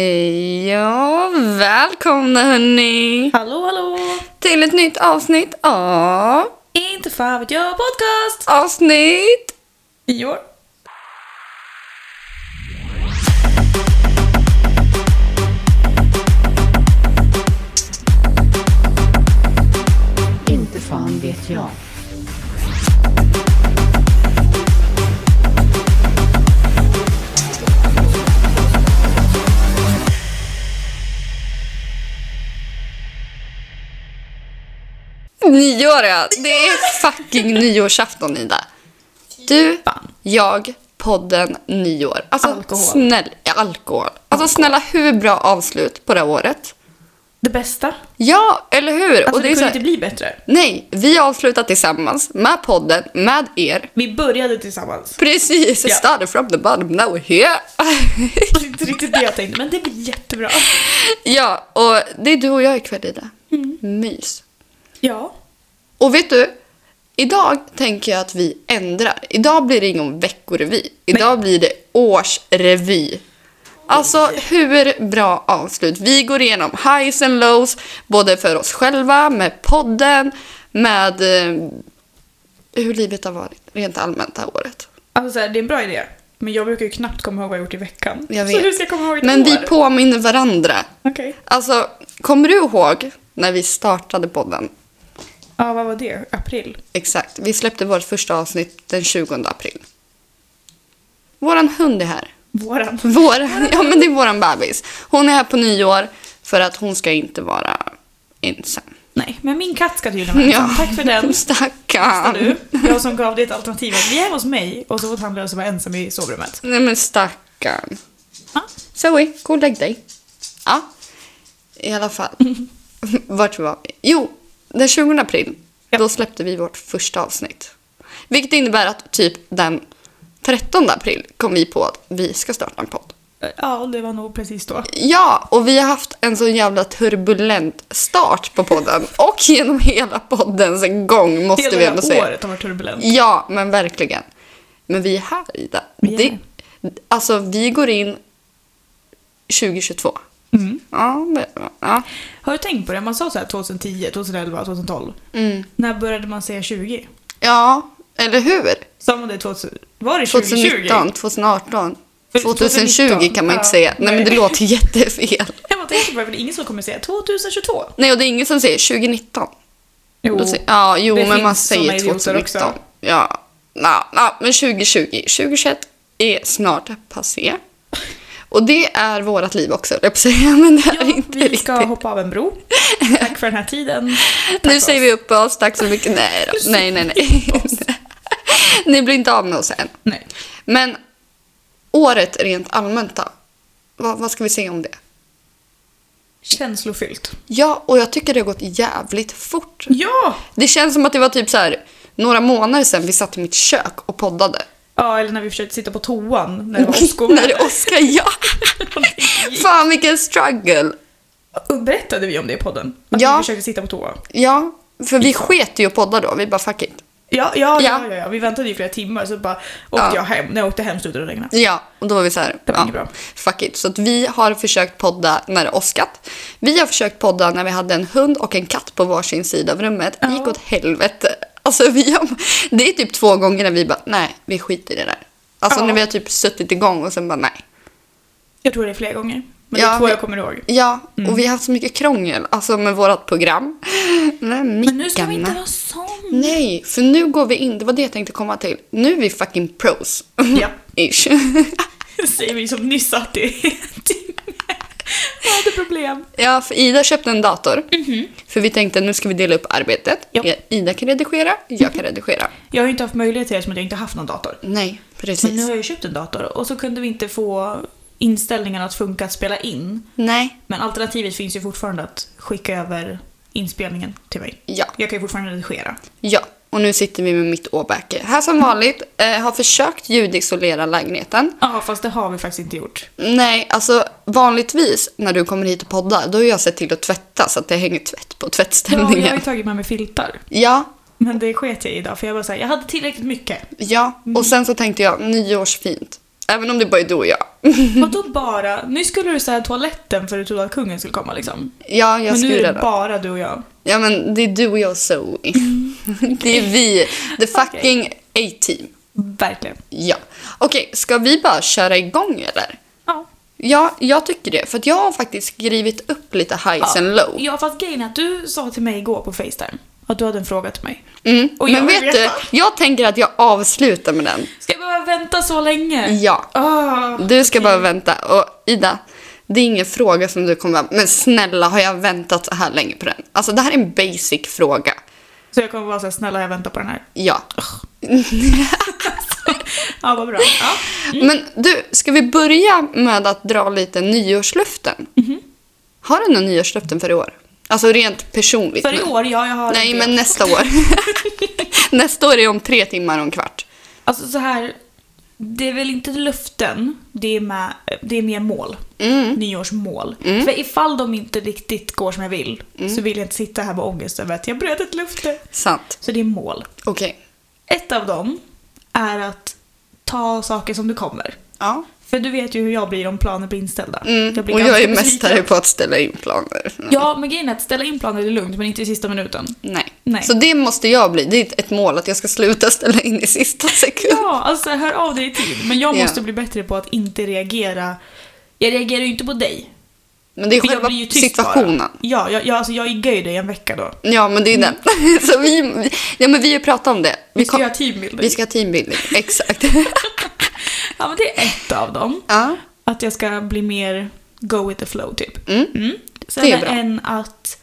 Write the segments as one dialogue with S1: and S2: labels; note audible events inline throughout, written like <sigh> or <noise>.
S1: Hej och välkomna hörni
S2: Hallå hallå!
S1: till ett nytt avsnitt av
S2: Inte fan vet jag podcast!
S1: avsnitt.
S2: I år.
S3: Inte fan vet jag.
S1: Nyår ja, det är fucking nyårsafton Ida. Du,
S2: Fan.
S1: jag, podden, nyår. Alltså,
S2: Alkohol.
S1: Snäll, ja, alkohol. Alltså snälla, hur bra avslut på det här året?
S2: Det bästa.
S1: Ja, eller hur?
S2: Alltså det,
S1: är så
S2: kunde
S1: här-
S2: inte bli bättre.
S1: Nej, vi har avslutat tillsammans med podden, med er.
S2: Vi började tillsammans.
S1: Precis,
S2: Ja.
S1: started from the bottom, now we're here. <laughs>
S2: Det är inte riktigt det jag tänkte men det blir jättebra.
S1: Ja, och det är du och jag ikväll Ida.
S2: Mm.
S1: Mys.
S2: Ja.
S1: Och vet du? Idag tänker jag att vi ändrar. Idag blir det ingen veckorevy. Idag blir det årsrevy. Alltså hur bra avslut. Vi går igenom highs and lows, både för oss själva, med podden, med eh, hur livet har varit rent allmänt det här året.
S2: Alltså så här, det är en bra idé. Men jag brukar ju knappt komma ihåg vad jag gjort i veckan.
S1: Jag
S2: Så
S1: vet.
S2: hur ska jag komma ihåg ett
S1: Men
S2: år?
S1: vi påminner varandra.
S2: Okej.
S1: Alltså, kommer du ihåg när vi startade podden?
S2: Ja vad var det? April?
S1: Exakt. Vi släppte vårt första avsnitt den 20 april. Våran hund är här.
S2: Våran.
S1: Vår, <laughs> ja, men det är våran bebis. Hon är här på nyår för att hon ska inte vara ensam.
S2: Nej men min katt ska tydligen vara ensam. Tack för
S1: <laughs>
S2: den. Tack
S1: Stackarn.
S2: Du. Jag som gav dig ett alternativ att vi är hos mig och så åt han lösa vara ensam i sovrummet.
S1: Nej, men stackarn.
S2: Ja.
S1: Zoe, gå och lägg dig. Ja, i alla fall. <laughs> Vart var vi? Jo, den 20 april,
S2: Ja.
S1: då släppte vi vårt första avsnitt. Vilket innebär att typ den 13 april kom vi på att vi ska starta en podd.
S2: Ja det var nog precis då.
S1: Ja, och vi har haft en så jävla turbulent start på <laughs> podden och genom hela poddens gång måste vi
S2: Hela
S1: ändå säga.
S2: året har varit turbulent.
S1: Ja, men verkligen. Men vi är här Ida.
S2: Vi är
S1: Det, alltså vi går in 2022.
S2: Mm.
S1: Ja, det- ja.
S2: Har du tänkt på det? Man sa så här 2010, 2011, 2012.
S1: Mm.
S2: När började man säga 20?
S1: ja eller hur?
S2: Sa man det 2000? Var det 2020?
S1: 2019, 2018, 2020 kan man inte
S2: Ja,
S1: säga. Nej, men det
S2: nej.
S1: låter jättefel.
S2: Jag bara tänkte på det, för det är ingen som kommer säga 2022.
S1: Nej, och det är ingen som säger 2019.
S2: Jo.
S1: Då säger, ja, jo,
S2: Det
S1: men man
S2: finns såna
S1: säger
S2: idioter
S1: 2019.
S2: också.
S1: Ja, na, na, men 2020, 2021 är snart passé. Och det är vårt liv också, höll jag på att säga, <laughs> men det är
S2: Ja,
S1: inte
S2: vi ska
S1: riktigt.
S2: hoppa av en bro. Tack för den här tiden. Tack för
S1: Nu
S2: oss.
S1: säger vi upp oss, tack så mycket. Nej
S2: <laughs>
S1: då. Nej, nej, nej. <laughs> Ni blir inte av med oss än.
S2: Nej.
S1: Men året rent allmänt då? Vad, vad ska vi säga om det?
S2: Känslofyllt.
S1: Ja, och jag tycker det har gått jävligt fort.
S2: Ja!
S1: Det känns som att det var typ så här några månader sedan vi satt i mitt kök och poddade.
S2: Ja, eller när vi försökte sitta på toan när det var
S1: <laughs>
S2: åskor.
S1: När det
S2: <laughs>
S1: är åska, ja. Fan vilken struggle.
S2: Berättade vi om det i podden? Att
S1: Ja.
S2: vi försökte sitta på toa?
S1: Ja, för vi sket ju att podda då. Vi bara fuck it.
S2: Ja, ja, ja.
S1: Ja.
S2: ja, ja. Vi väntade ju flera timmar så bara åkte
S1: Ja.
S2: jag hem. När jag åkte hem slutade det regna.
S1: Ja, och då var vi så här,
S2: Det var
S1: ja,
S2: inget bra.
S1: fuck it. Så att vi har försökt podda när det åskat. Vi har försökt podda när vi hade en hund och en katt på varsin sida av rummet. Det gick
S2: Ja.
S1: åt helvete. Alltså vi har, det är typ två gånger när vi bara, nej, vi skiter i det där. Alltså
S2: Ja.
S1: när vi har typ suttit igång och sen bara nej.
S2: Jag tror det är flera gånger. Men det
S1: Ja,
S2: är två
S1: men-
S2: jag kommer ihåg. Mm.
S1: Ja, och vi har haft så mycket krångel, alltså med vårt program. Men
S2: Men nu ska vi inte vara sån.
S1: Nej, för nu går vi in, det var det jag tänkte komma till. Nu är vi fucking pros.
S2: Ja.
S1: <laughs> Ish.
S2: Säger vi som nyss satt i en timme. Jag hade problem.
S1: Ja, för Ida köpte en dator. För vi tänkte nu ska vi dela upp arbetet.
S2: Mhm. Ja.
S1: Ida kan redigera, jag kan redigera.
S2: Jag har ju inte haft möjlighet till det eftersom jag inte haft någon dator.
S1: Nej,
S2: Men
S1: precis.
S2: nu har jag ju köpt en dator och så kunde vi inte få inställningarna att funka att spela in.
S1: Nej,
S2: Men alternativet finns ju fortfarande att skicka över inspelningen till mig.
S1: ja.
S2: Jag kan ju fortfarande redigera.
S1: Ja, och nu sitter vi med mitt åbäke. Här som vanligt, eh, har försökt ljudisolera lägenheten.
S2: Ja, fast det har vi faktiskt inte gjort.
S1: Nej, alltså vanligtvis när du kommer hit och poddar, då har jag sett till att tvätta så att det hänger tvätt på
S2: Ja, jag har
S1: tvättställningen.
S2: ju tagit med mig filtar.
S1: Ja,
S2: Men det sket jag i idag för jag bara såhär, jag hade tillräckligt mycket.
S1: ja. Och sen så tänkte jag, nyårsfint. Även om det bara är du och jag. <laughs>
S2: Vadå bara? Nu skulle du säga toaletten för du trodde att kungen skulle komma liksom.
S1: Ja, jag
S2: Men nu är
S1: skulle
S2: det
S1: då.
S2: bara du och jag.
S1: Ja, men det är du och jag Zoe.
S2: Mm.
S1: <laughs> det är vi. The fucking A-team.
S2: Verkligen.
S1: Ja. Okej, ska vi bara köra igång eller?
S2: Ja.
S1: Ja, jag tycker det. För att jag har faktiskt skrivit upp lite highs and low.
S2: Ja, fast grejen är att du sa till mig igår på Facetime att du hade en fråga till mig.
S1: Mm.
S2: Och jag
S1: Men
S2: vill
S1: vet du,
S2: veta.
S1: jag tänker att jag avslutar med den.
S2: Ska jag behöva vänta så länge?
S1: Ja.
S2: Ah.
S1: Mm. Du ska bara vänta. Och Ida, det är ingen fråga som du kommer... Men snälla, har jag väntat så här länge på den? Alltså, det här är en basic fråga.
S2: Så jag kommer vara såhär, snälla jag väntar på den här.
S1: Ja.
S2: Ja, vad bra. Ja.
S1: Men du, ska vi börja med att dra lite nyårslöften?
S2: Mhm.
S1: Har du några nyårslöften för i år? Alltså rent personligt.
S2: För i
S1: men-
S2: år, ja jag har...
S1: Nej, men nästa
S2: <laughs>
S1: år. nästa år är om tre timmar och en kvart.
S2: Alltså så här, det är väl inte luften, det är, med, det är mer mål.
S1: Mm.
S2: Nyårsmål. För ifall de inte riktigt går som jag vill,
S1: Mm.
S2: så vill jag inte sitta här med ångest över att jag bröt ett löfte.
S1: Sant.
S2: Så det är mål.
S1: Okej.
S2: Ett av dem är att ta saker som det kommer.
S1: Ja.
S2: För du vet ju hur jag blir om planer blir inställda.
S1: Mm.
S2: blir
S1: och jag
S2: ganska
S1: är
S2: besviken.
S1: mästare på att ställa in planer.
S2: Ja, men grejen är att ställa in planer är lugnt, men inte i sista minuten.
S1: Nej.
S2: Nej.
S1: Så det måste jag bli. Det är ett mål att jag ska sluta ställa in i sista sekund.
S2: Ja, alltså hör av dig i tid. Men jag
S1: Ja.
S2: måste bli bättre på att inte reagera. Jag reagerar ju inte på dig.
S1: Men det är
S2: För jag
S1: själva
S2: blir ju tyst
S1: situationen.
S2: Bara. Ja, jag, jag, alltså jag iggar ju dig en vecka då.
S1: Ja, men det är den. <laughs> Så vi, vi- ja, men vi har pratat om det.
S2: Mm. Vi ska
S1: kom-
S2: göra teambuilding.
S1: vi ska ha teambuilding. Exakt.
S2: <laughs> Ja, men det är ett av dem.
S1: ja.
S2: Att jag ska bli mer go with the flow typ.
S1: Mm.
S2: Mm. Sen
S1: Det är
S2: är
S1: bra.
S2: en att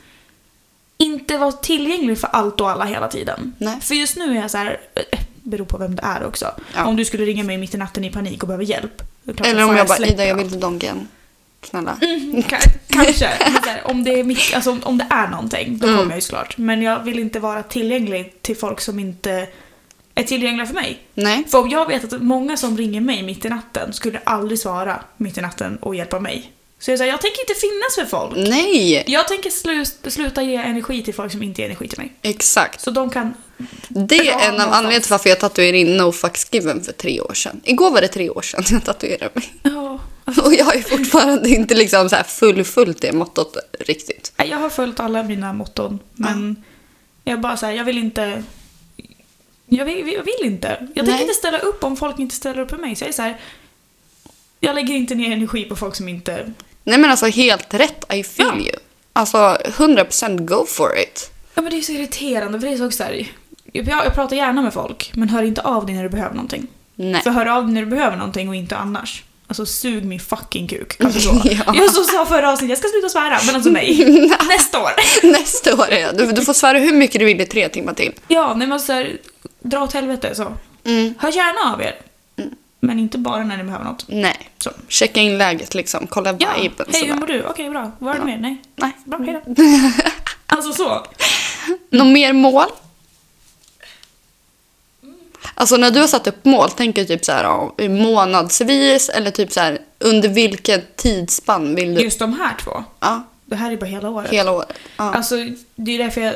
S2: inte vara tillgänglig för allt och alla hela tiden.
S1: Nej.
S2: För just nu är jag så här, eh, beror på vem det är också.
S1: Ja.
S2: Om du skulle ringa mig mitt i natten i panik och behöver hjälp. då är klart
S1: Eller om
S2: som fan
S1: jag bara,
S2: släpper
S1: Ida, jag
S2: allt.
S1: vill till Donken. Snälla.
S2: Mm. Ka- Kanske. Men så här, om, det är mitt, alltså, om, om det är någonting, då kommer jag ju såklart. Men jag vill inte vara tillgänglig till folk som inte är tillgängliga för mig.
S1: Nej.
S2: För om jag vet att många som ringer mig mitt i natten skulle aldrig svara mitt i natten och hjälpa mig. Så jag säger, jag tänker inte finnas för folk.
S1: Nej.
S2: Jag tänker slu- sluta ge energi till folk som inte ger energi till mig.
S1: Exakt.
S2: Så de kan...
S1: Det
S2: Ja,
S1: är en av
S2: någonstans.
S1: anledningarna till varför jag tatuerade in No Fucks Given för tre år sedan. Igår var det tre år sedan jag tatuerade mig. <laughs>
S2: Ja.
S1: Och jag har ju fortfarande inte liksom så här fullföljt det mottot riktigt.
S2: Nej, Jag har följt alla mina motton, men jag bara säger, jag vill inte... Jag vill, jag vill inte. Jag
S1: Nej.
S2: tänker inte ställa upp om folk inte ställer upp för mig. Så jag är så här, jag lägger inte ner energi på folk som inte...
S1: Nej men alltså helt rätt, I feel
S2: Ja.
S1: you. Alltså 100% go for it.
S2: Ja men det är så irriterande, för det är så också så här, jag, jag pratar gärna med folk, men hör inte av dig när du behöver någonting.
S1: Nej.
S2: För hör av dig när du behöver någonting och inte annars. Alltså sug min fucking kuk. Alltså så.
S1: <laughs> Ja.
S2: Jag som sa förra avsnittet, jag ska sluta svära, men alltså
S1: <laughs>
S2: nej. Nästa år.
S1: <laughs> Nästa år är jag. Du, du får svära hur mycket du vill i tre timmar till.
S2: Ja, nej men så här, dra åt helvete så.
S1: Mm.
S2: Hör gärna av er. Men inte bara när ni behöver något.
S1: Nej.
S2: Så.
S1: Checka in läget liksom, kolla
S2: Ja,
S1: viben
S2: hej hur
S1: sådär.
S2: mår du? Okej bra, var det mer? Nej,
S1: Nej.
S2: bra, hejdå.
S1: <laughs>
S2: alltså så.
S1: Något mer mål? Alltså när du har satt upp mål, tänker du typ så här ja, månadsvis eller typ så här under vilken tidsspann vill du?
S2: Just de här två.
S1: Ja,
S2: Det här är bara hela året.
S1: hela året. Ja.
S2: Alltså det är därför jag...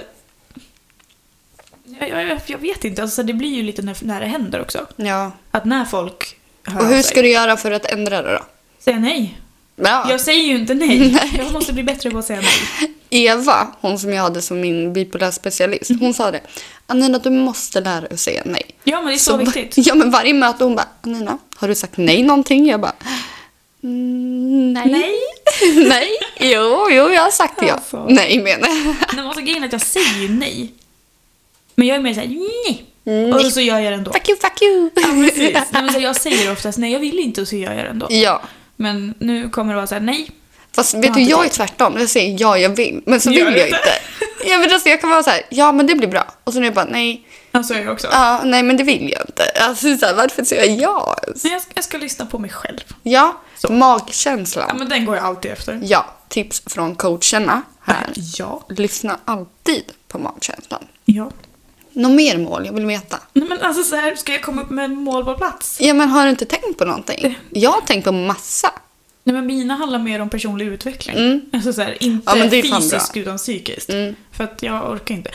S2: Jag, jag, jag- jag vet inte, alltså det blir ju lite när, när det händer också.
S1: ja.
S2: Att när folk hör
S1: Och
S2: av
S1: hur
S2: sig,
S1: ska du göra för att ändra det då?
S2: Säga nej.
S1: Ja.
S2: Jag säger ju
S1: <laughs>
S2: inte nej. Jag måste bli bättre på att säga nej.
S1: Eva, hon som jag hade som min bipolär specialist, hon sa det. Anina, du måste lära dig att säga nej.
S2: Ja men det är
S1: va-
S2: så, viktigt.
S1: Ja, men varje möte hon bara, Anina, har du sagt nej någonting? Jag bara, "Mm, nej.
S2: Nej.
S1: <laughs> nej. Jo, jo, jag har sagt det.
S2: Alltså.
S1: Ja. Nej, menar jag.
S2: Nej, men alltså grejen är att jag säger ju nej. Men jag är mer såhär nej.
S1: Nej.
S2: Och så gör jag
S1: <laughs>
S2: det ändå.
S1: Mm. Fuck you, fuck you!
S2: Ja, precis. Nej, men så jag säger oftast nej, jag vill inte och så gör jag det ändå.
S1: <laughs> ja.
S2: Men nu kommer det vara så här: nej.
S1: Fast vet
S2: Jag har
S1: du,
S2: inte
S1: jag är
S2: tid.
S1: tvärtom. Jag säger ja, jag vill. Men så
S2: Gör
S1: vill
S2: du
S1: jag
S2: inte?
S1: inte. Ja, men alltså, jag kan vara så här, ja men det blir bra. Och sen är jag bara, nej,
S2: Ja, så är jag också.
S1: ja, nej men det vill jag inte. Alltså, så här, varför säger jag ja ens?
S2: Men jag, ska, jag ska lyssna på mig själv.
S1: Ja,
S2: Så.
S1: magkänslan.
S2: Ja, men den går jag alltid efter.
S1: Ja, tips från coacherna här.
S2: Ja.
S1: Lyssna alltid på magkänslan.
S2: Ja.
S1: Något mer mål? Jag vill veta.
S2: Nej, men alltså så här, ska jag komma upp med mål på plats?
S1: Ja, men har du inte tänkt på någonting? Jag har tänkt på massa.
S2: Nej, men mina handlar mer om personlig utveckling.
S1: Mm.
S2: Alltså så här, inte
S1: Ja, men det är fan
S2: fysiskt
S1: bra.
S2: utan psykiskt.
S1: Mm.
S2: För att jag orkar inte.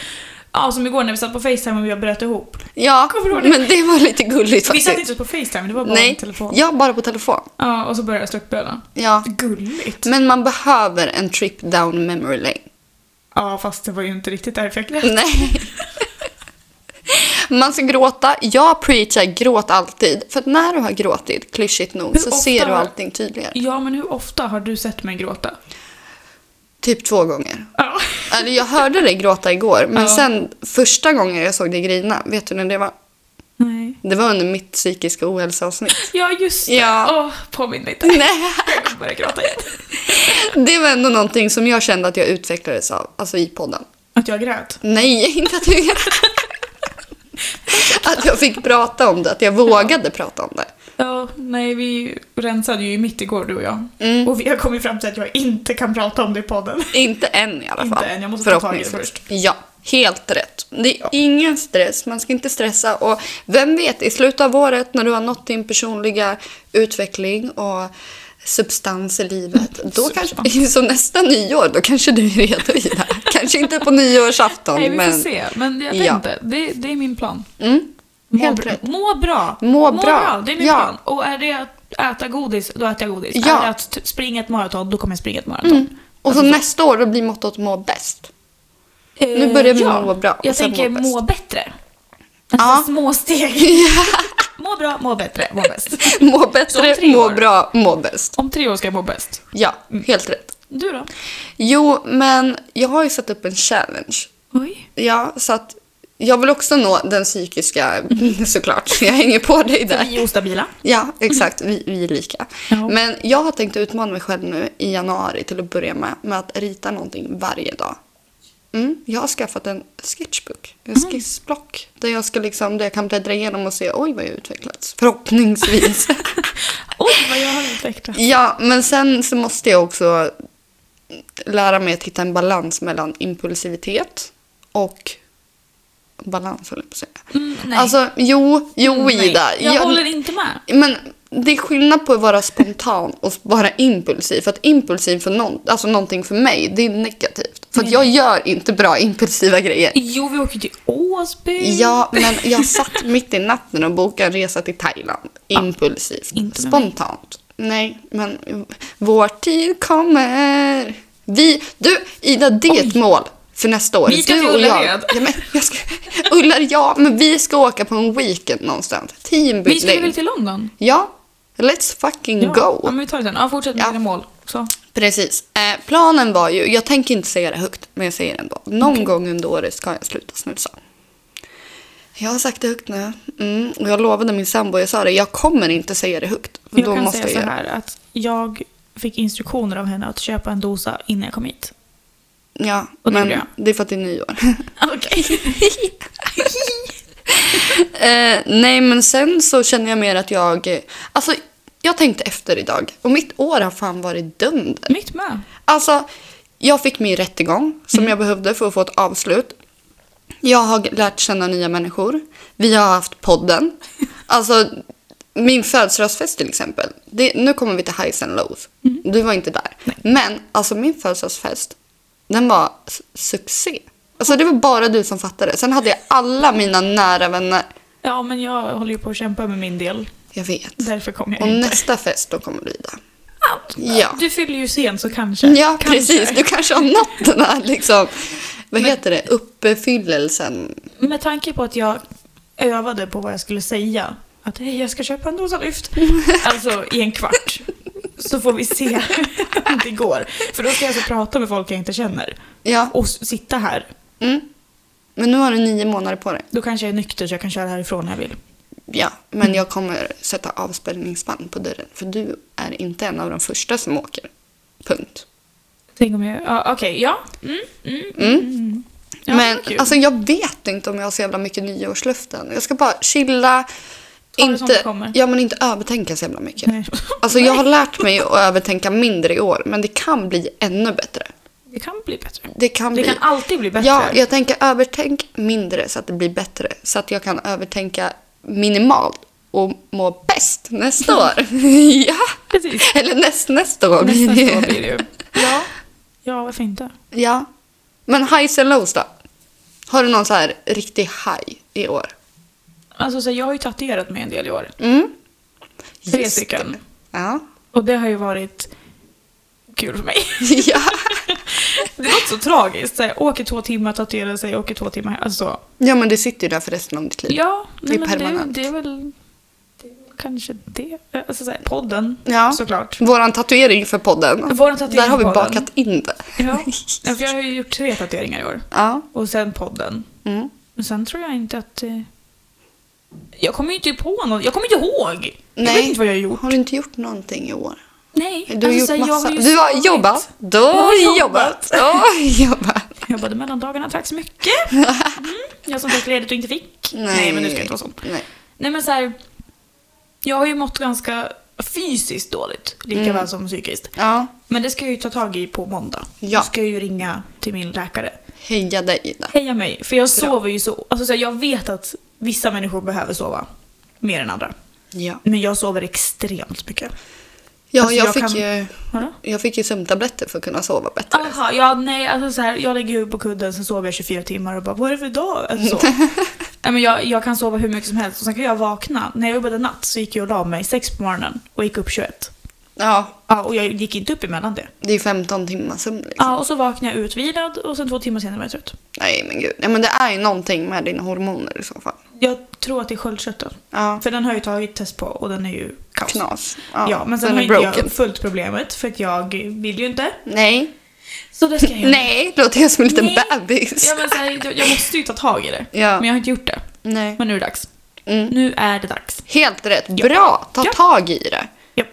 S2: Ja, som igår när vi satt på Facetime och jag bröt ihop.
S1: Ja,
S2: Kommer du ihåg det?
S1: men det var lite gulligt
S2: Vi satt
S1: faktiskt.
S2: inte på Facetime, det var bara en
S1: Nej,
S2: telefon.
S1: ja, bara på telefon.
S2: Ja, och så började jag störtböla.
S1: Ja.
S2: Gulligt.
S1: Men man behöver en trip down memory lane.
S2: Ja, fast det var ju inte riktigt därför jag grät.
S1: Nej. <laughs> Man ska gråta. Jag preachar gråt alltid. För att när du har gråtit, klyschigt nog,
S2: Hur
S1: så
S2: ofta
S1: ser du
S2: har-
S1: allting tydligare.
S2: Ja, men hur ofta har du sett mig gråta?
S1: Typ två gånger.
S2: Ja.
S1: Eller Alltså, jag hörde dig gråta igår, men
S2: Ja.
S1: sen första gången jag såg dig grina, vet du när det var?
S2: Nej.
S1: Det var under mitt psykiska ohälsa-avsnitt.
S2: Ja, just det.
S1: Ja.
S2: Åh, påminn mig inte.
S1: Nej,
S2: Jag kommer börja gråta
S1: <laughs>
S2: igen.
S1: det var ändå någonting som jag kände att jag utvecklades av, alltså i podden.
S2: Att jag grät?
S1: Nej, <laughs> inte att jag... att jag fick prata om det, att jag vågade prata om det.
S2: Ja, nej, vi rensade ju mitt igår, du och jag.
S1: Mm.
S2: Och vi har kommit fram till att jag inte kan prata om det i podden.
S1: Inte än i alla fall.
S2: Inte än, jag måste ta tag i det
S1: Förhoppningsvis. Ja, helt rätt. Det är ingen stress, man ska inte stressa. Och vem vet, i slutet av året när du har nått din personliga utveckling och substans i livet, då
S2: Substans.
S1: kanske, <laughs> så nästa nyår, då kanske du är redo i det här. Kanske inte på nyårsafton,
S2: nej, vi får
S1: men
S2: se. Men jag vet
S1: Ja.
S2: inte. Det, det är min plan.
S1: mm, helt
S2: må,
S1: rätt.
S2: må bra.
S1: Må bra.
S2: Det är min
S1: Ja.
S2: plan. Och är det att äta godis, då äter jag godis.
S1: Ja. Mm.
S2: Är det att t- springa ett maraton, då kommer jag springa ett maraton.
S1: Och så nästa år, då blir mottot må bäst. <laughs> Nu börjar vi må bra, och
S2: Jag
S1: sen
S2: tänker
S1: må
S2: må,
S1: bäst.
S2: bättre.
S1: Ja.
S2: Alltså
S1: <laughs>
S2: små steg. Må bra, må bättre, må bäst.
S1: Må
S2: Så om
S1: bättre,
S2: tre
S1: må
S2: år.
S1: bra, må bäst.
S2: Om tre år ska jag må bäst.
S1: Ja, helt rätt.
S2: Du då?
S1: Jo, men jag har ju satt upp en challenge
S2: Oj.
S1: Ja, så att jag vill också nå den psykiska <laughs> såklart. Jag hänger på dig
S2: För
S1: där.
S2: vi är ostabila.
S1: Ja, exakt. Vi, vi är lika.
S2: Ja.
S1: Men jag har tänkt utmana mig själv nu i januari till att börja med, med att rita någonting varje dag. Mm, jag har skaffat en sketchbook, en
S2: Mm.
S1: skissblock, där jag, ska liksom, där jag kan bläddra igenom och se oj vad jag utvecklats. Förhoppningsvis.
S2: Oj, vad jag har utvecklat.
S1: ja, men sen så måste jag också lära mig att hitta en balans mellan impulsivitet och balans, höll jag på att säga.
S2: Mm, nej. Mm,
S1: Alltså, jo, jo
S2: Nej.
S1: Ida.
S2: Jag,
S1: Jag-
S2: håller inte med.
S1: Men det är skillnad på att vara spontan och vara impulsiv. För att impulsiv för någon, alltså någonting för mig, det är negativt. För att
S2: Nej.
S1: jag gör inte bra impulsiva grejer.
S2: Jo, vi åker till Åsby.
S1: Ja, men jag satt mitt i natten och bokade en resa till Thailand. Impulsivt.
S2: inte med mig.
S1: Spontant. Nej, men vår tid kommer. Vi, du, Ida, det är ett mål för nästa år.
S2: Vi ska
S1: du
S2: till
S1: och jag.
S2: Ullared.
S1: Ja, men jag ska, Ullared, ja, men vi ska åka på en weekend någonstans.
S2: Vi skulle
S1: Teambuilding.
S2: väl till London?
S1: Ja, let's fucking
S2: Ja.
S1: go.
S2: Ja, men vi tar det sen. Ja, fortsätt med
S1: Ja.
S2: dina mål. Så.
S1: Precis. Eh, planen var ju, jag tänker inte säga det högt, men jag säger det ändå. Någon gång under året ska jag sluta snusa. Jag har sagt det högt nu. Mm, och jag lovade min sambo, jag sa det, jag kommer inte säga det högt. För
S2: Jag
S1: då
S2: kan
S1: måste
S2: säga
S1: jag
S2: så
S1: göra-
S2: här att jag fick instruktioner av henne att köpa en dosa innan jag
S1: <laughs>
S2: kom hit.
S1: Ja,
S2: Och det
S1: men
S2: gjorde
S1: det är för att det är nyår. <laughs>
S2: Okej.
S1: eh, nej, men sen så känner jag mer att jag... eh, Alltså, jag tänkte efter idag. Och mitt år har fan varit dömd.
S2: Mitt med.
S1: Alltså, jag fick min rättegång som jag behövde för att få ett avslut. Jag har lärt känna nya människor. Vi har haft podden. Alltså, min födelsedagsfest till exempel. Det, nu kommer vi till highs and lows. Du var inte där. Men alltså min födelsedagsfest, den var s- succé. Alltså det var bara du som fattade. Sen hade jag alla mina nära vänner.
S2: Ja, men jag håller ju på att kämpa med min del.
S1: Jag vet.
S2: Därför kom jag
S1: Och
S2: inte.
S1: nästa fest då kommer Lida. Mm. Ja.
S2: Ja. Du fyller ju sen så kanske.
S1: Ja,
S2: kanske.
S1: precis. Du <laughs> kanske har nått den här liksom, vad heter det, uppfyllelsen.
S2: Med tanke på att jag övade på vad jag skulle säga. Att hej, jag ska köpa en dosa lyft. Alltså i en kvart. Så får vi se <laughs> om det går. För då ska jag alltså prata med folk jag inte känner.
S1: Ja,
S2: Och s- sitta här.
S1: mm. men nu har du nio månader på dig.
S2: Då kanske jag är nykter så jag kan köra härifrån när jag vill.
S1: Ja, men jag kommer sätta avspärrningsband på dörren för du är inte en av de första som åker. Punkt.
S2: Tänk om jag... Ja, Okej, ja. Mm, mm, mm, mm. Ja,
S1: men
S2: vad kul.
S1: alltså, jag vet inte om jag har så jävla mycket nyårslöften. Jag ska bara chilla.
S2: det som det
S1: Inte,
S2: kommer.
S1: ja, men inte övertänka så jävla mycket.
S2: Nej.
S1: Alltså, jag har lärt mig att övertänka mindre i år, men det kan bli ännu bättre.
S2: <laughs> Det kan bli bättre.
S1: Det kan
S2: Det
S1: bli
S2: kan alltid bli bättre.
S1: Ja, jag tänker övertänk mindre så att det blir bättre. Så att jag kan övertänka minimalt och må bäst nästa år. <laughs> ja,
S2: Mm. Precis.
S1: eller näst, nästa år blir
S2: Nästa
S1: det
S2: år
S1: ju.
S2: blir det ju. Ja. ja, varför inte?
S1: Ja. Men highs and lows då? Har du någon så här riktig high i år?
S2: Alltså så här, jag har ju tatuerat mig en del i år.
S1: Mm.
S2: Tre
S1: Just
S2: stycken.
S1: Ja. <laughs>
S2: Och det har ju varit kul för mig. <laughs>
S1: ja.
S2: Det låter så tragiskt. Så här, åker två timmar, tatuerar sig, åker två timmar. Alltså så.
S1: ja, men det sitter ju där för resten av ditt liv.
S2: Ja,
S1: Det
S2: nej,
S1: är
S2: men det,
S1: permanent.
S2: det är väl det är väl kanske det. Alltså så här, podden,
S1: Ja.
S2: såklart.
S1: Våran tatuering för podden.
S2: Vår tatuering
S1: där har vi
S2: för podden.
S1: bakat in det. <laughs>
S2: Ja. Ja, för jag har ju gjort tre tatueringar i år.
S1: Ja.
S2: Och sen podden.
S1: Mm.
S2: Men sen tror jag inte att... eh, Jag kommer ju inte på något. Jag kommer inte ihåg. Jag vet
S1: Nej.
S2: inte vad jag har gjort.
S1: Har du inte gjort någonting i år?
S2: Nej. Alltså,
S1: Du har
S2: så här,
S1: gjort
S2: jag
S1: massa.
S2: ju
S1: du har
S2: sovit.
S1: jobbat. Du har jobbat. Du har jobbat.
S2: Jag jobbade mellan dagarna, tack så <laughs> mycket. Mm, jag som fick ledigt och inte fick. <laughs> Nej, men nu ska jag inte vara sån.
S1: Nej.
S2: Nej men så här, Jag har ju mått ganska fysiskt dåligt, lika väl som psykiskt.
S1: Ja.
S2: Men det ska jag ju ta tag i på måndag.
S1: Ja.
S2: Då ska jag ju ringa till min läkare.
S1: Heja dig Ida.
S2: Heja mig, för jag sover ju så. Alltså så här, jag vet att vissa människor behöver sova mer än andra.
S1: Ja.
S2: Men jag sover extremt mycket.
S1: Ja,
S2: Alltså,
S1: jag,
S2: jag
S1: fick
S2: kan-
S1: ju,
S2: Vadå?
S1: jag fick ju sömntabletter för att kunna sova bättre.
S2: Aha, ja nej alltså så här, jag lägger huvudet på kudden, sen sover jag 24 timmar och bara vad är det för dag? Alltså, <laughs> så. nej, men jag, jag kan sova hur mycket som helst och sen kan jag vakna. När jag jobbade natt så gick jag och la mig sex på morgonen och gick upp 21.
S1: Ja,
S2: Ja, och jag gick inte upp emellan det.
S1: det är 15 timmars sömn liksom.
S2: Ja, och så vaknade jag utvilad och sen två timmar senare var jag trött.
S1: Nej men gud. Nej, men det är ju någonting med dina hormoner i så fall.
S2: Jag tror att det är sköldkörteln.
S1: Ja.
S2: För den har jag ju tagit test på och den är ju kaos.
S1: Knas.
S2: Ja, men sen
S1: den
S2: har
S1: är
S2: inte jag
S1: broken.
S2: uppfyllt problemet för att jag vill ju inte.
S1: Nej.
S2: Så det ska <laughs> jag göra.
S1: Nej, låter jag som en liten
S2: Nej.
S1: bebis.
S2: Ja, men så här, jag, jag måste ju ta tag i det.
S1: Ja.
S2: Men jag har inte gjort det.
S1: Nej.
S2: Men nu är det dags.
S1: Mm.
S2: Nu är det dags.
S1: Helt rätt.
S2: Ja.
S1: Bra! Ta
S2: Ja.
S1: tag i det.
S2: Japp.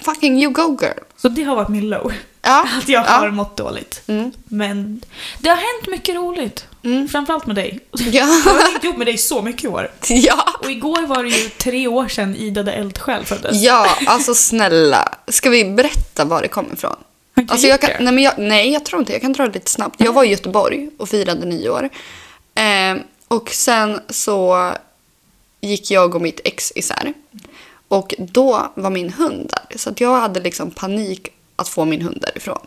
S1: Fucking you go girl.
S2: Så det har varit min low.
S1: Ja.
S2: <laughs> Att jag
S1: Ja.
S2: har mått dåligt.
S1: Mm. <laughs>
S2: Men det har hänt mycket roligt.
S1: Mm.
S2: Framförallt med dig. Jag
S1: <laughs> Ja.
S2: har hängt ihop med dig så mycket i år.
S1: ja.
S2: Och igår var det ju tre år sedan Ida de Eldsjäl föddes.
S1: Ja, alltså snälla. Ska vi berätta var det kommer ifrån?
S2: Har inte
S1: Alltså
S2: vi
S1: jag
S2: gjort
S1: kan, nej, men jag, nej, jag tror inte. Jag kan dra det lite snabbt. Jag var i Göteborg och firade nyår. Eh, och sen så gick jag och mitt ex isär. Och då var min hund där. Så att jag hade liksom panik att få min hund därifrån.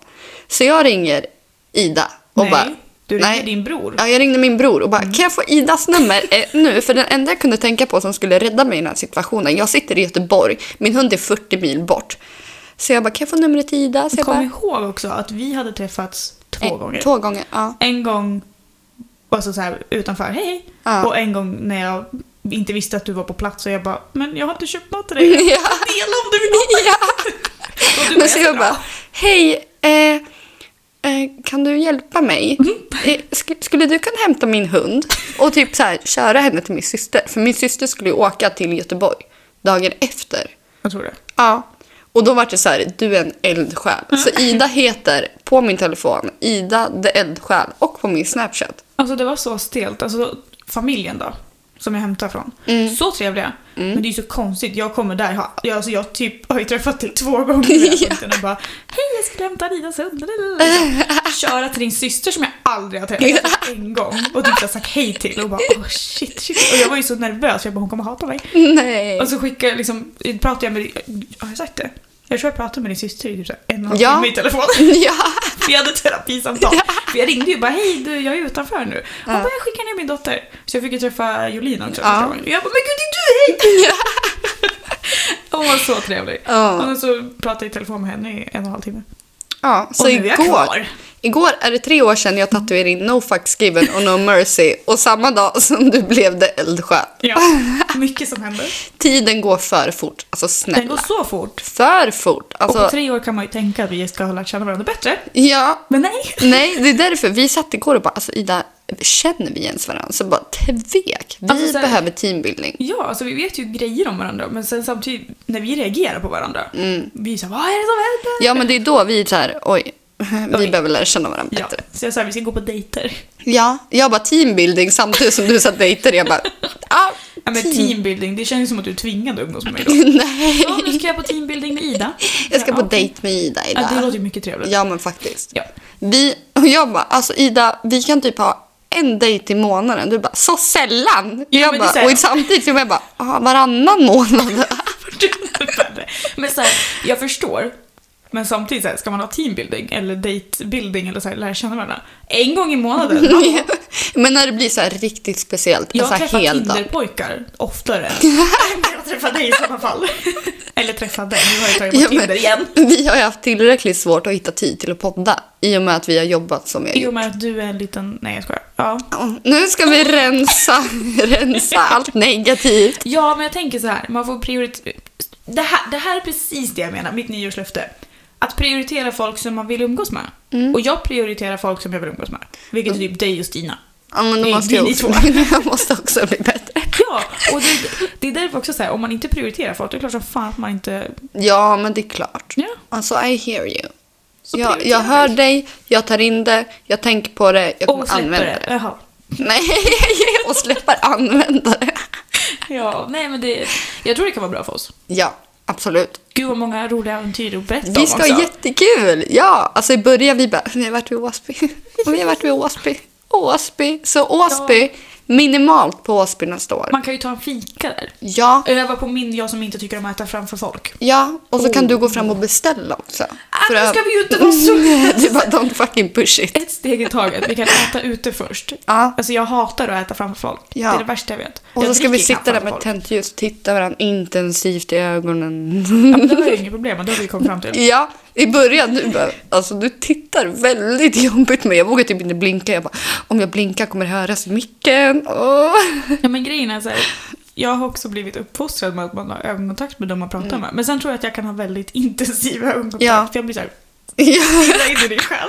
S1: Så jag ringer Ida och
S2: Nej,
S1: bara...
S2: du ringde din bror.
S1: Ja, jag ringde min bror och
S2: Mm.
S1: bara, kan jag få Idas nummer eh, nu? För den enda jag kunde tänka på som skulle rädda mig i den här situationen, jag sitter i Göteborg, min hund är 40 mil bort. Så jag bara, kan jag få numret till Ida? Så jag
S2: Kom
S1: bara,
S2: ihåg också att vi hade träffats två
S1: Eh,
S2: gånger.
S1: Två gånger, ja.
S2: En gång alltså så här, utanför, hej hej.
S1: Ja.
S2: Och en gång när jag inte visste att du var på plats och jag bara, men jag har inte köpt mat till dig.
S1: <laughs>
S2: Jag
S1: Ja.
S2: kan Dela om du vill ha.
S1: <laughs>
S2: Och du
S1: Men så jag
S2: jättebra.
S1: bara, hej, eh, eh, kan du hjälpa mig?
S2: Mm.
S1: Eh, sk- skulle du kunna hämta min hund och typ så här, köra henne till min syster? För min syster skulle ju åka till Göteborg dagen efter.
S2: Jag tror det.
S1: Ja. Och då var det så här, du är en eldsjäl.
S2: Mm.
S1: Så Ida heter på min telefon Ida the eldsjäl och på min
S2: <laughs>
S1: Snapchat.
S2: Alltså det var så stelt. Alltså familjen då, som jag hämtar från. Så trevliga. Men det är ju så konstigt, jag kommer där, ha- jag, alltså, jag typ har ju träffat dig två gånger vid den här punkten och bara Hej jag skulle hämta Adidas hund. Liksom. Köra till din syster som jag aldrig har träffat, Jag har träffat en gång. Och typ så här sagt hej till och bara oh, shit, shit. Och jag var ju så nervös, jag bara hon kommer hata mig.
S1: Nej.
S2: Och så skickar jag liksom, pratade jag med din, har jag sagt det? Jag tror jag pratade med din syster i typ så här en och en
S1: Ja.
S2: timme i telefon.
S1: <laughs> Ja.
S2: Vi hade terapisamtal. För jag ringde ju bara hej du, jag är utanför nu. Hon bara jag skickar ner min dotter. Så jag fick ju träffa Jolina också.
S1: Ja.
S2: första gången. Jag bara men gud det är du, hej!
S1: <laughs> Ja.
S2: Hon var så trevlig.
S1: Ja.
S2: Och så pratade jag i telefon med henne i en och en halv timme.
S1: ja. Så
S2: Och nu är jag
S1: igår,
S2: kvar.
S1: igår är det tre år sedan jag tatuerade in No fucks given och No mercy. Och samma dag som du blev the eldsjäl. <laughs>
S2: Ja, mycket som händer.
S1: Tiden går för fort. Alltså
S2: Den går
S1: snälla.
S2: så fort.
S1: För fort.
S2: Och på
S1: Alltså,
S2: tre år kan man ju tänka att vi ska ha lärt känna varandra bättre.
S1: ja.
S2: Men nej.
S1: Nej, det är därför vi satt igår och bara, alltså Ida, känner vi ens varandra? Så bara tvek. Vi
S2: Alltså, så här-
S1: behöver teambuilding.
S2: Ja, alltså vi vet ju grejer om varandra men sen samtidigt när vi reagerar på varandra. Vi är såhär, vad är det som händer?
S1: Mm. Ja, men det är då vi är så här, oj, vi
S2: Oj.
S1: behöver lära känna varandra
S2: Ja,
S1: bättre.
S2: så jag sa vi ska gå på dejter.
S1: Ja, jag bara teambuilding samtidigt som du sa dejter. Jag bara, ah,
S2: Ja men
S1: team.
S2: teambuilding, det känns som att du är tvingad att umgås med mig
S1: <laughs>
S2: då.
S1: Nej,
S2: Ja, nu ska jag på teambuilding med Ida.
S1: jag ska
S2: Ja,
S1: på
S2: okej.
S1: dejt med Ida
S2: Ja, det låter ju
S1: idag.
S2: mycket <laughs> trevligt.
S1: Ja, men faktiskt.
S2: Ja.
S1: Vi, och jag bara, alltså Ida, vi kan typ ha en dejt i månaden. Du bara, så sällan!
S2: Ja,
S1: jag
S2: men det
S1: bara,
S2: är så här-
S1: och samtidigt så jag bara, ah, varannan månad.
S2: Men så här, jag förstår. Men samtidigt, så här, ska man ha teambuilding eller datebuilding eller så här, lära känna varandra? En gång
S1: <laughs>
S2: i månaden?
S1: Men när det blir så här riktigt speciellt. alltså
S2: Jag
S1: så här
S2: träffar
S1: hel dag.
S2: Tinderpojkar oftare
S1: <laughs>
S2: än jag träffar dig i sådana fall. eller träffade, nu har jag tagit
S1: Ja,
S2: bort
S1: men
S2: Tinder igen.
S1: Vi har ju haft tillräckligt svårt att hitta tid till att podda i och med att vi har jobbat som jag
S2: I och
S1: gjort.
S2: med att du är en liten... Nej, jag skojar. Ja.
S1: Nu ska vi rensa, <laughs> rensa allt negativt.
S2: Ja, men jag tänker så här, man får prioritera... Det här, det här är precis det jag menar, mitt nyårslöfte. Att prioritera folk som man vill umgås med.
S1: Mm.
S2: Och jag prioriterar folk som jag vill umgås med. Vilket är typ dig och Stina. <laughs>
S1: Ja, men då
S2: Det är
S1: måste jag,
S2: ni
S1: också, <laughs> jag måste också bli bättre.
S2: Ja, och det, det är därför också så här, om man inte prioriterar folk, det är klart som fan att man inte...
S1: Ja, men det är klart.
S2: Ja.
S1: Alltså, I hear you.
S2: Så
S1: jag,
S2: prioritera
S1: jag hör
S2: det.
S1: dig, jag tar in det, jag tänker på det, jag kommer
S2: Och släpper
S1: använda
S2: det.
S1: det. <laughs>
S2: Jaha.
S1: Nej, och släpper använda det.
S2: Ja, nej men det... Jag tror det kan vara bra för oss.
S1: Ja, absolut.
S2: Gud vad många roliga äventyr att berätta om
S1: Vi ska
S2: också.
S1: ha jättekul! Ja, alltså i början vi bara, vi har varit vid Åsby. <laughs> Och vi har varit vid Åsby. Åsby. Så Åsby, minimalt på Åsby nästa år.
S2: Man kan ju ta en fika där.
S1: Ja,
S2: Öva på min jag som inte tycker om att äta framför folk.
S1: ja. Och så kan du gå fram och beställa också.
S2: Ah,
S1: För
S2: nu
S1: att-
S2: ska vi ju inte vara
S1: <laughs>
S2: så-
S1: Du bara, don't fucking push it.
S2: Ett steg i taget. Vi kan äta ute först.
S1: Ja.
S2: Alltså jag hatar att äta framför folk.
S1: Ja.
S2: Det är det värsta jag vet.
S1: Och så
S2: jag
S1: ska vi
S2: dricker knappt
S1: sitta där
S2: framför
S1: med
S2: folk.
S1: tänt ljus, titta varandra intensivt i ögonen. <laughs>
S2: Ja, men det var ju inget problem, men det har vi kommit fram till.
S1: Ja, i början du bara, alltså du tittar väldigt jobbigt med. Jag vågar typ inte blinka. Jag bara, om jag blinkar kommer det höras i micken. Åh.
S2: Ja, men grejen är så här, jag har också blivit uppfostrad med att man har ögonkontakt med dem man pratar med. Men sen tror jag att jag kan ha väldigt intensiv <laughs> ögonkontakt.
S1: Mm. Ja.
S2: För jag blir såhär,
S1: Ja.
S2: pilla in i din själ.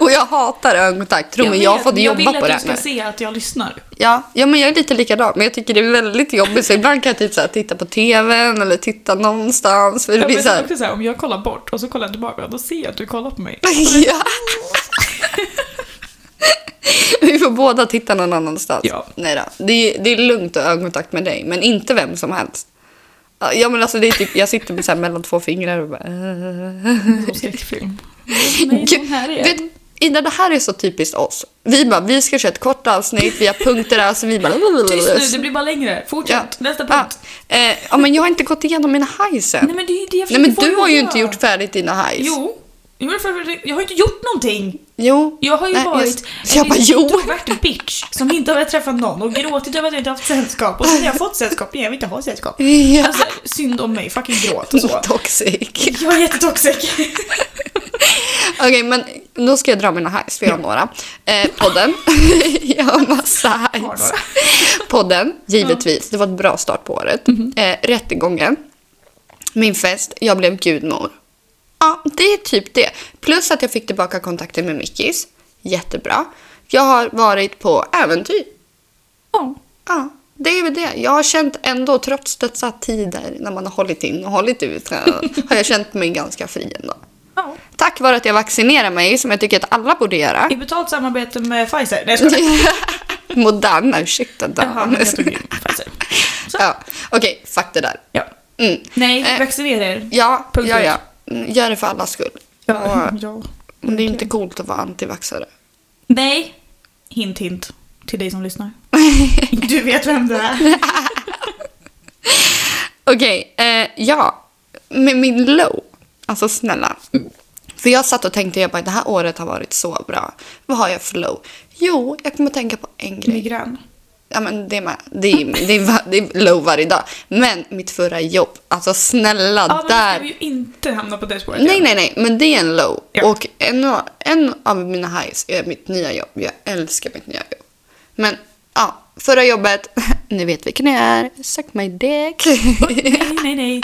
S1: Och jag hatar ögonkontakt. Tro mig, jag har
S2: vet,
S1: fått
S2: men
S1: jobba på det
S2: Jag
S1: här
S2: vill
S1: nu.
S2: att du ska se att jag lyssnar.
S1: Ja, ja, men jag är lite likadan. Men jag tycker det är väldigt jobbigt. Så ibland kan jag typ så här, titta på tvn eller titta någonstans. För det
S2: Ja,
S1: blir
S2: men
S1: så
S2: sen <laughs>
S1: här,
S2: också så här, om jag kollar bort och så kollar jag tillbaka, då ser jag att du kollar på mig.
S1: ja. <laughs> Vi får båda titta någon annanstans.
S2: Ja.
S1: Nej då. Det, är, det är lugnt att ha ögonkontakt med dig, men inte vem som helst. Ja, men alltså, det är typ, jag sitter så här mellan två fingrar och bara... eh. <laughs>
S2: Som skräckfilm. Nej, de här är...
S1: Vet, Ida, det här är så typiskt oss. Vi bara, vi ska köra ett kort avsnitt, vi har punkter där, så vi bara...
S2: Tyst nu, det blir bara längre. Fortsätt, nästa punkt.
S1: Ja. Eh, ja, men jag har inte gått igenom mina highs än.
S2: Nej men det är ju det jag
S1: Nej,
S2: försöker
S1: men
S2: få
S1: du
S2: dig
S1: har
S2: att
S1: ju
S2: göra.
S1: inte gjort färdigt dina highs.
S2: Jo. Jag har för- jag har inte gjort någonting.
S1: Jo.
S2: Jag har ju
S1: Nej,
S2: varit
S1: Jag, jag bara, jo.
S2: introvert bitch som inte har velat träffa någon och gråtit över att jag inte haft sällskap. Och sen när jag har fått sällskap, nej jag vill inte ha sällskap.
S1: <laughs> Ja.
S2: Alltså, synd om mig, fucking gråt och så.
S1: Toxic.
S2: Jag är jättetoxic.
S1: Okej, men då ska jag dra mina highs, för jag har några. Eh, podden. <laughs> jag har massa
S2: Har
S1: highs.
S2: några. Mhm.
S1: Podden, givetvis. Det var ett bra start på året. Eh, rättegången. Min fest. Jag blev gudmor. Ja, det är typ det. Plus att jag fick tillbaka kontakten med Mickis. Jättebra. Jag har varit på äventyr.
S2: Ja.
S1: Ja, det är väl det. Jag har känt ändå, trots dessa tider när man har hållit in och hållit ut, har jag känt mig ganska fri ändå.
S2: Ja.
S1: Tack vare att jag vaccinerar mig, som jag tycker att alla borde göra. <laughs>
S2: I betalt samarbete med Pfizer. Nej jag skojar.
S1: Moderna, ursäkta
S2: Jaha, men
S1: Dan.
S2: jag tog
S1: <laughs>
S2: in Pfizer. Så.
S1: Ja, okej, fuck det där.
S2: Ja.
S1: Mm.
S2: Nej,
S1: Eh.
S2: vaccinera er.
S1: Ja,
S2: Punkt
S1: ja,
S2: ut.
S1: ja. Mm, Gör det för allas skull.
S2: Ja.
S1: Och,
S2: ja.
S1: men det är inte coolt att vara antivaxxare.
S2: Nej. Hint hint. Till dig
S1: <laughs>
S2: som lyssnar. Du vet vem det är.
S1: Okej, eh, ja. Med min low. Alltså snälla. För jag satt och tänkte, jag bara, det här året har varit så bra. Vad har jag för low? Jo, jag kommer tänka på en grej.
S2: Migrän.
S1: Ja, men det är med. Det är, det, är, va- det är low varje dag. Men mitt förra jobb, alltså snälla,
S2: Ja, men
S1: där.
S2: där. ska vi ju inte hamna på det spåret.
S1: Nej, nej, nej, men det är en low.
S2: Ja.
S1: Och en, av- en av mina highs är mitt nya jobb. Jag älskar mitt nya jobb. Men ja, förra jobbet, <laughs> ni vet vilken jag är. Suck my dick.
S2: Nej, nej, nej.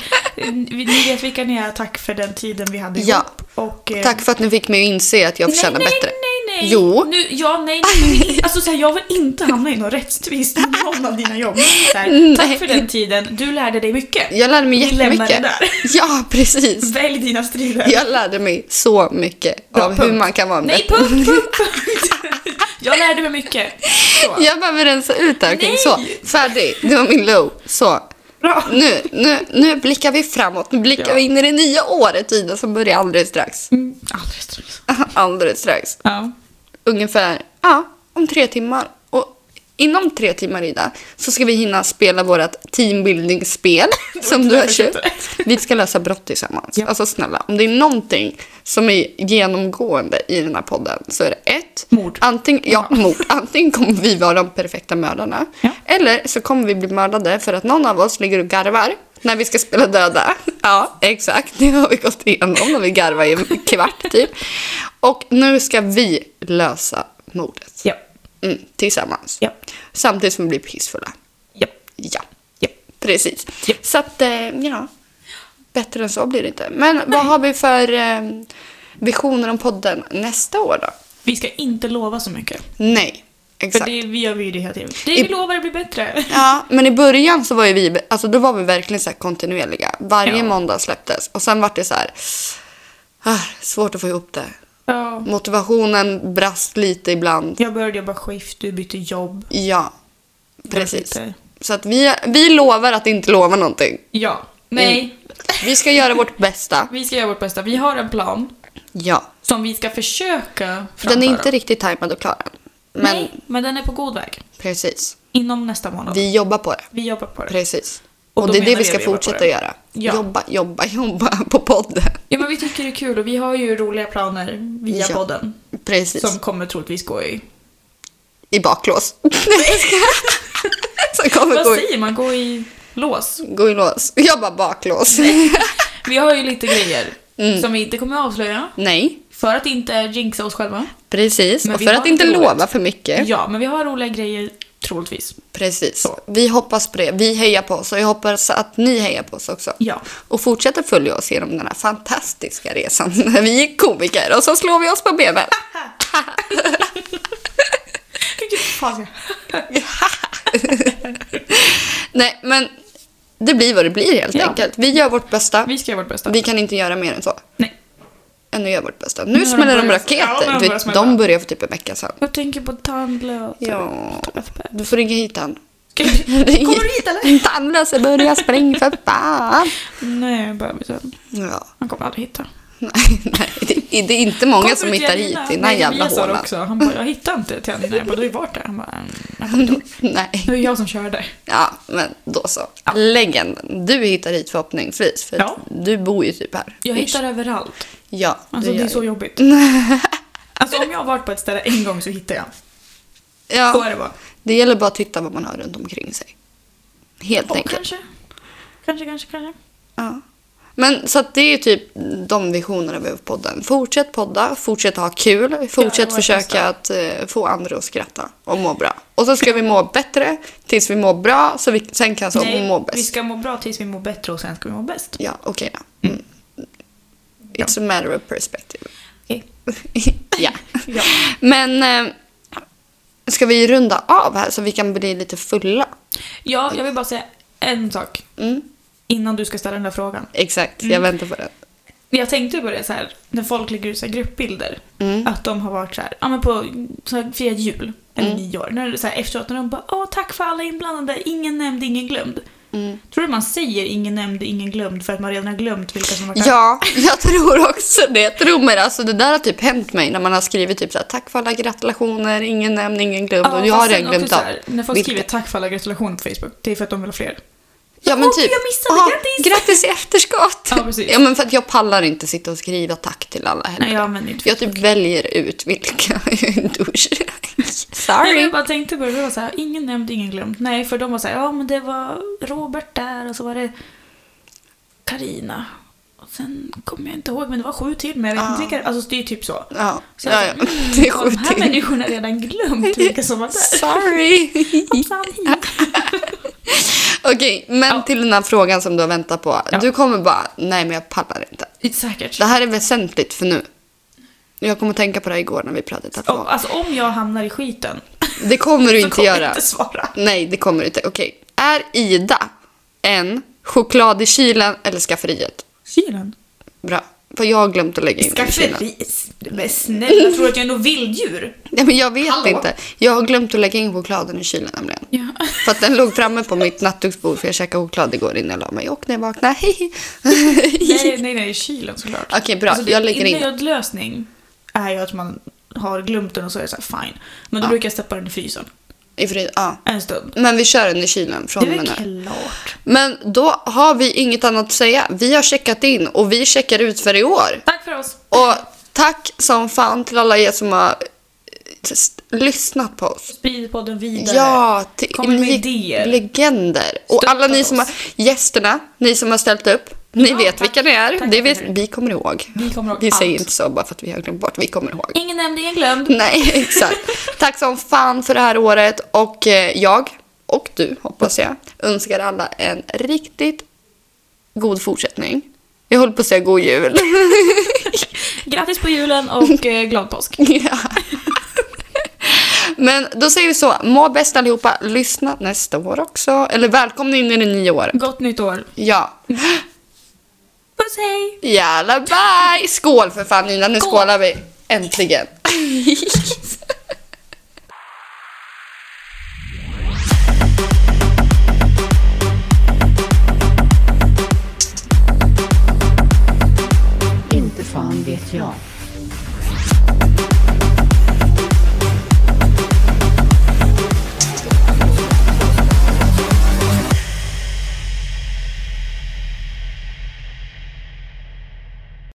S2: Vi- Ni vet vilka ni är. Tack för den tiden vi hade ihop.
S1: Ja.
S2: <laughs> Och, eh,
S1: Tack för att ni fick mig att inse att jag förtjänar
S2: nej,
S1: bättre.
S2: Nej, nej, nej.
S1: Jo.
S2: Nu, ja, nej, nej. nej. Alltså, så här, jag vill inte hamna i någon rättstvist med någon av dina jobb. Så här,
S1: Nej.
S2: tack för den tiden. Du lärde dig mycket.
S1: Jag lärde mig
S2: Vi lämnar
S1: jättemycket.
S2: det där.
S1: <laughs> Ja, precis.
S2: Välj dina strider.
S1: Jag lärde mig så mycket
S2: Bra,
S1: av hur
S2: punkt.
S1: man kan vara
S2: Nej,
S1: med.
S2: punkt, punkt, punkt. Jag lärde mig mycket. Så.
S1: <laughs> Jag behöver rensa ut det här. okej?
S2: Nej.
S1: Så, färdig. Det var min low. Så.
S2: Bra.
S1: Nu, nu, nu blickar vi framåt. Nu blickar
S2: Ja.
S1: vi in i det nya året, Ida, som börjar alldeles strax. <laughs>
S2: Mm, alldeles strax.
S1: alldeles strax.
S2: Ja.
S1: Ungefär ja, om tre timmar. Och inom tre timmar Ida så ska vi hinna spela vårt
S2: <laughs>
S1: teambuildingspel som du har köpt. Vi ska lösa brott tillsammans.
S2: Ja.
S1: Alltså snälla, om det är någonting som är genomgående i den här podden så är det ett.
S2: Mord.
S1: Antingen, ja, mord. Antingen kommer vi vara de perfekta mördarna.
S2: Ja.
S1: Eller så kommer vi bli mördade för att någon av oss ligger och garvar när vi ska spela
S2: <laughs>
S1: döda. Ja, exakt. Det har vi gått igenom när vi garvar i en kvart typ. Och nu ska vi lösa mordet.
S2: Ja,
S1: Mm, tillsammans.
S2: ja,
S1: Samtidigt som vi blir pissfulla.
S2: ja,
S1: Ja,
S2: ja.
S1: precis.
S2: Ja.
S1: Så att, eh, ja. Bättre än så blir det inte. Men vad har vi för eh, visioner om podden nästa år då?
S2: Vi ska inte lova så mycket.
S1: Nej,
S2: För
S1: exakt.
S2: det vi gör vi ju det hela tiden. Det vi lovar det blir bättre.
S1: Ja, men i början så var ju vi, alltså då var vi verkligen så här kontinuerliga. Varje
S2: Ja.
S1: måndag släpptes och sen var det så här, ah, svårt att få ihop det.
S2: Ja.
S1: Motivationen brast lite ibland.
S2: Jag började jobba skift, du bytte jobb.
S1: Ja, precis.
S2: Lite.
S1: Så att vi, vi lovar att inte lova någonting.
S2: Ja. Nej.
S1: Vi ska göra vårt bästa.
S2: Vi ska göra vårt bästa. Vi har en plan
S1: Ja.
S2: som vi ska försöka
S1: Den
S2: framföra.
S1: är inte riktigt tajmad och klar än. Men
S2: Nej, men den är på god väg.
S1: precis,
S2: Inom nästa månad. Vi,
S1: vi jobbar på det.
S2: jobbar på det.
S1: Precis.
S2: Och
S1: Och,
S2: då
S1: det är det
S2: menar
S1: vi
S2: jag
S1: ska
S2: vi jobbar på
S1: fortsätta
S2: det.
S1: göra.
S2: Ja.
S1: Jobba, jobba, <laughs> jobba på podden.
S2: Ja, men vi tycker det är kul och vi har ju roliga planer via
S1: Ja.
S2: podden.
S1: Precis.
S2: Som kommer troligtvis gå i...
S1: i <laughs> baklås. Som kommer
S2: Vad
S1: gå, i-
S2: säger man? Gå i lås?
S1: gå i lås. Jag bara baklås.
S2: Vi har ju lite grejer
S1: Mm.
S2: som vi inte kommer att avslöja.
S1: <laughs> Nej,
S2: För att inte jinxa oss själva.
S1: precis.
S2: Men
S1: Och
S2: vi
S1: för
S2: har
S1: att inte
S2: roligt.
S1: lova för mycket.
S2: Ja, men vi har roliga grejer troligtvis.
S1: Precis.
S2: Så.
S1: Vi hoppas på det. Vi hejar på oss och jag hoppas att ni hejar på oss också.
S2: Ja.
S1: Och fortsätter följa oss genom den här fantastiska resan <laughs> när vi är komiker och så slår vi oss på benen.
S2: Vilket fan
S1: Nej, men det blir vad det blir helt
S2: Ja.
S1: enkelt. Vi gör vårt bästa.
S2: Vi ska göra vårt bästa.
S1: Vi kan inte göra mer än så.
S2: Nej.
S1: Ännu gör vårt bästa. Nu,
S2: har de
S1: smäller de
S2: börjat-
S1: raketer.
S2: Ja, de har
S1: Du
S2: börjat
S1: vet,
S2: smälla.
S1: de började för typ en vecka sedan.
S2: Jag tänker på tandlöt.
S1: Ja.
S2: Ska
S1: Du får ringa hit han.
S2: vi- <laughs>
S1: <laughs>
S2: Kommer du hit eller?
S1: Tandlöse börjar spring för fan.
S2: Nej, bebisen.
S1: Ja.
S2: Han kommer aldrig hitta.
S1: Nej, nej, det, det är inte många
S2: Kommer
S1: som
S2: du till
S1: hittar hit
S2: Janina?
S1: i den här
S2: Nej,
S1: jävla
S2: Elias sa det
S1: hålan.
S2: också. Han bara, jag hittar inte till Janina. Jag bara, du har ju varit där. Han bara, "Mm, jag kommer inte ihåg."
S1: <laughs> Nej,
S2: det är jag som körde.
S1: ja, men då så. Legenden. Du hittar hit förhoppningsvis, för
S2: Ja.
S1: du bor ju typ här.
S2: Jag
S1: Ish.
S2: hittar överallt.
S1: Ja,
S2: Alltså
S1: du
S2: det är
S1: gör
S2: så
S1: ju. <laughs>
S2: jobbigt. Alltså om jag har varit på ett ställe en gång så hittar jag. Så är
S1: Ja,
S2: det bara.
S1: det gäller bara att titta vad man har runt omkring sig. Helt
S2: Och
S1: enkelt.
S2: kanske. Kanske, kanske, kanske.
S1: Ja. Men så att det är ju typ de visionerna vi har på podden. Fortsätt podda, fortsätt ha kul,
S2: Ja,
S1: fortsätt
S2: det var
S1: försöka att eh, få andra att skratta och må bra. Och så ska vi må bättre tills vi mår bra så vi sen kan så må
S2: vi
S1: bäst.
S2: ska må bra tills vi mår bättre och sen ska vi må bäst.
S1: Ja, okej då. Mm. It's a matter of perspective.
S2: Okej.
S1: <laughs> ja.
S2: Ja.
S1: Men eh, ska vi runda av här så vi kan bli lite fulla?
S2: ja, jag vill bara säga en sak.
S1: Mm.
S2: Innan du ska ställa den där frågan.
S1: Exakt,
S2: Mm.
S1: jag väntar på det.
S2: Jag tänkte på det så här, när folk lägger ut så här gruppbilder.
S1: Mm.
S2: Att de har varit så här, ja men på så här, firat jul, eller
S1: Mm.
S2: nyår. När det, så här, efteråt när de bara åh tack för alla inblandade, ingen nämnd, ingen glömd.
S1: Mm.
S2: Tror du man säger ingen nämnd, ingen glömd för att man redan har glömt vilka som var där?
S1: Ja, <laughs> jag tror också det. Tro mig, alltså det där har typ hänt mig när man har skrivit typ så här, tack för alla gratulationer, ingen nämnd, ingen glömd. och jag
S2: fast
S1: har
S2: sen
S1: redan
S2: också
S1: glömt
S2: så
S1: av.
S2: här, När folk
S1: vilka.
S2: skriver tack för alla gratulationer på Facebook, det är för att de vill ha fler.
S1: Ja men
S2: Åh,
S1: typ.
S2: jag missade,
S1: ah,
S2: grattis!
S1: Grattis i efterskott!
S2: <laughs> Ja, precis.
S1: ja men för att jag pallar inte sitta och skriva tack till alla heller.
S2: Nej, jag använder inte
S1: Jag typ väljer ut vilka <laughs> douche. Sorry.
S2: Nej, men jag bara tänkte på det, det var så här, ingen nämnd, ingen glömd. Nej, för de var så här, ja men det var Robert där och så var det Karina. Och sen kommer jag inte ihåg, men det var sju till, men jag vet inte
S1: Ja.
S2: vilka Alltså det är typ så.
S1: Ja,
S2: Så jag
S1: ja,
S2: bara,
S1: ja. <laughs> Det är
S2: "Mm, De här
S1: sjukt.
S2: människorna har redan glömt vilka som
S1: <laughs>
S2: var där. <laughs>
S1: Sorry.
S2: Hoppsan, hit.
S1: Okej, men
S2: Ja.
S1: till den här frågan som du har väntat på.
S2: Ja.
S1: Du kommer bara, nej men jag pallar inte.
S2: Säkert.
S1: Det här är väsentligt för nu. Jag kommer tänka på det här igår när vi pratade
S2: Om,
S1: telefon.
S2: alltså om jag hamnar i skiten
S1: Det kommer du
S2: så
S1: inte
S2: kommer jag
S1: göra.
S2: inte svara.
S1: Nej, det kommer du inte. Okej. Är Ida en choklad i kylen eller skafferiet?
S2: Kylen?
S1: Bra. För jag har glömt att lägga in den i kylen.
S2: Skafferis? Men snälla, tror du att jag är något vilddjur?
S1: Nej, men jag vet
S2: Hallå?
S1: inte. Jag har glömt att lägga in chokladen i kylen nämligen.
S2: Ja.
S1: För att den låg framme på mitt nattduksbord för jag käkade choklad igår innan jag la mig och när jag vaknade. <laughs> Hej.
S2: Nej,
S1: <laughs>
S2: nej, nej, i kylen såklart.
S1: Okej, bra.
S2: Alltså,
S1: Jag lägger in den.
S2: Nödlösning är ju att man har glömt den och så är det så här fine. Men då
S1: Ja.
S2: brukar jag stoppa den i frysen.
S1: I fred, ja.
S2: en stund.
S1: Men vi kör den i kylen från
S2: Det
S1: och
S2: är
S1: med
S2: väl
S1: nu.
S2: klart.
S1: Men då har vi inget annat att säga. Vi har checkat in och vi checkar ut för i år.
S2: Tack för oss.
S1: Och tack som fan till alla er som har eh, s- lyssnat på oss.
S2: Sprid podden vidare.
S1: Ja, till
S2: Kommer med
S1: ni-
S2: idéer.
S1: legender. Och
S2: Stötta
S1: alla ni som
S2: oss.
S1: har, gästerna, ni som har ställt upp. Ni
S2: Ja,
S1: vet
S2: tack.
S1: vilka ni är.
S2: Tack
S1: det
S2: för
S1: vet,
S2: det.
S1: vi kommer ihåg.
S2: Vi kommer ihåg
S1: Vi säger
S2: allt.
S1: inte så bara för att vi har glömt bort. Vi kommer ihåg.
S2: Ingen nämnd, ingen glömd.
S1: <laughs> Nej, exakt. Tack som fan för det här året och eh, jag och du hoppas jag önskar alla en riktigt god fortsättning. Jag håller på att säga god jul. <laughs>
S2: Grattis på julen och eh, glad påsk.
S1: Ja. Men då säger vi så, må bäst allihopa, lyssna nästa år också. Eller välkomna in i det nya året.
S2: Gott nytt år.
S1: Ja.
S2: Puss hej!
S1: Jävla bye! Skål för fan Nina, nu
S2: Skål.
S1: skålar vi. Äntligen.
S3: Inte fan vet jag.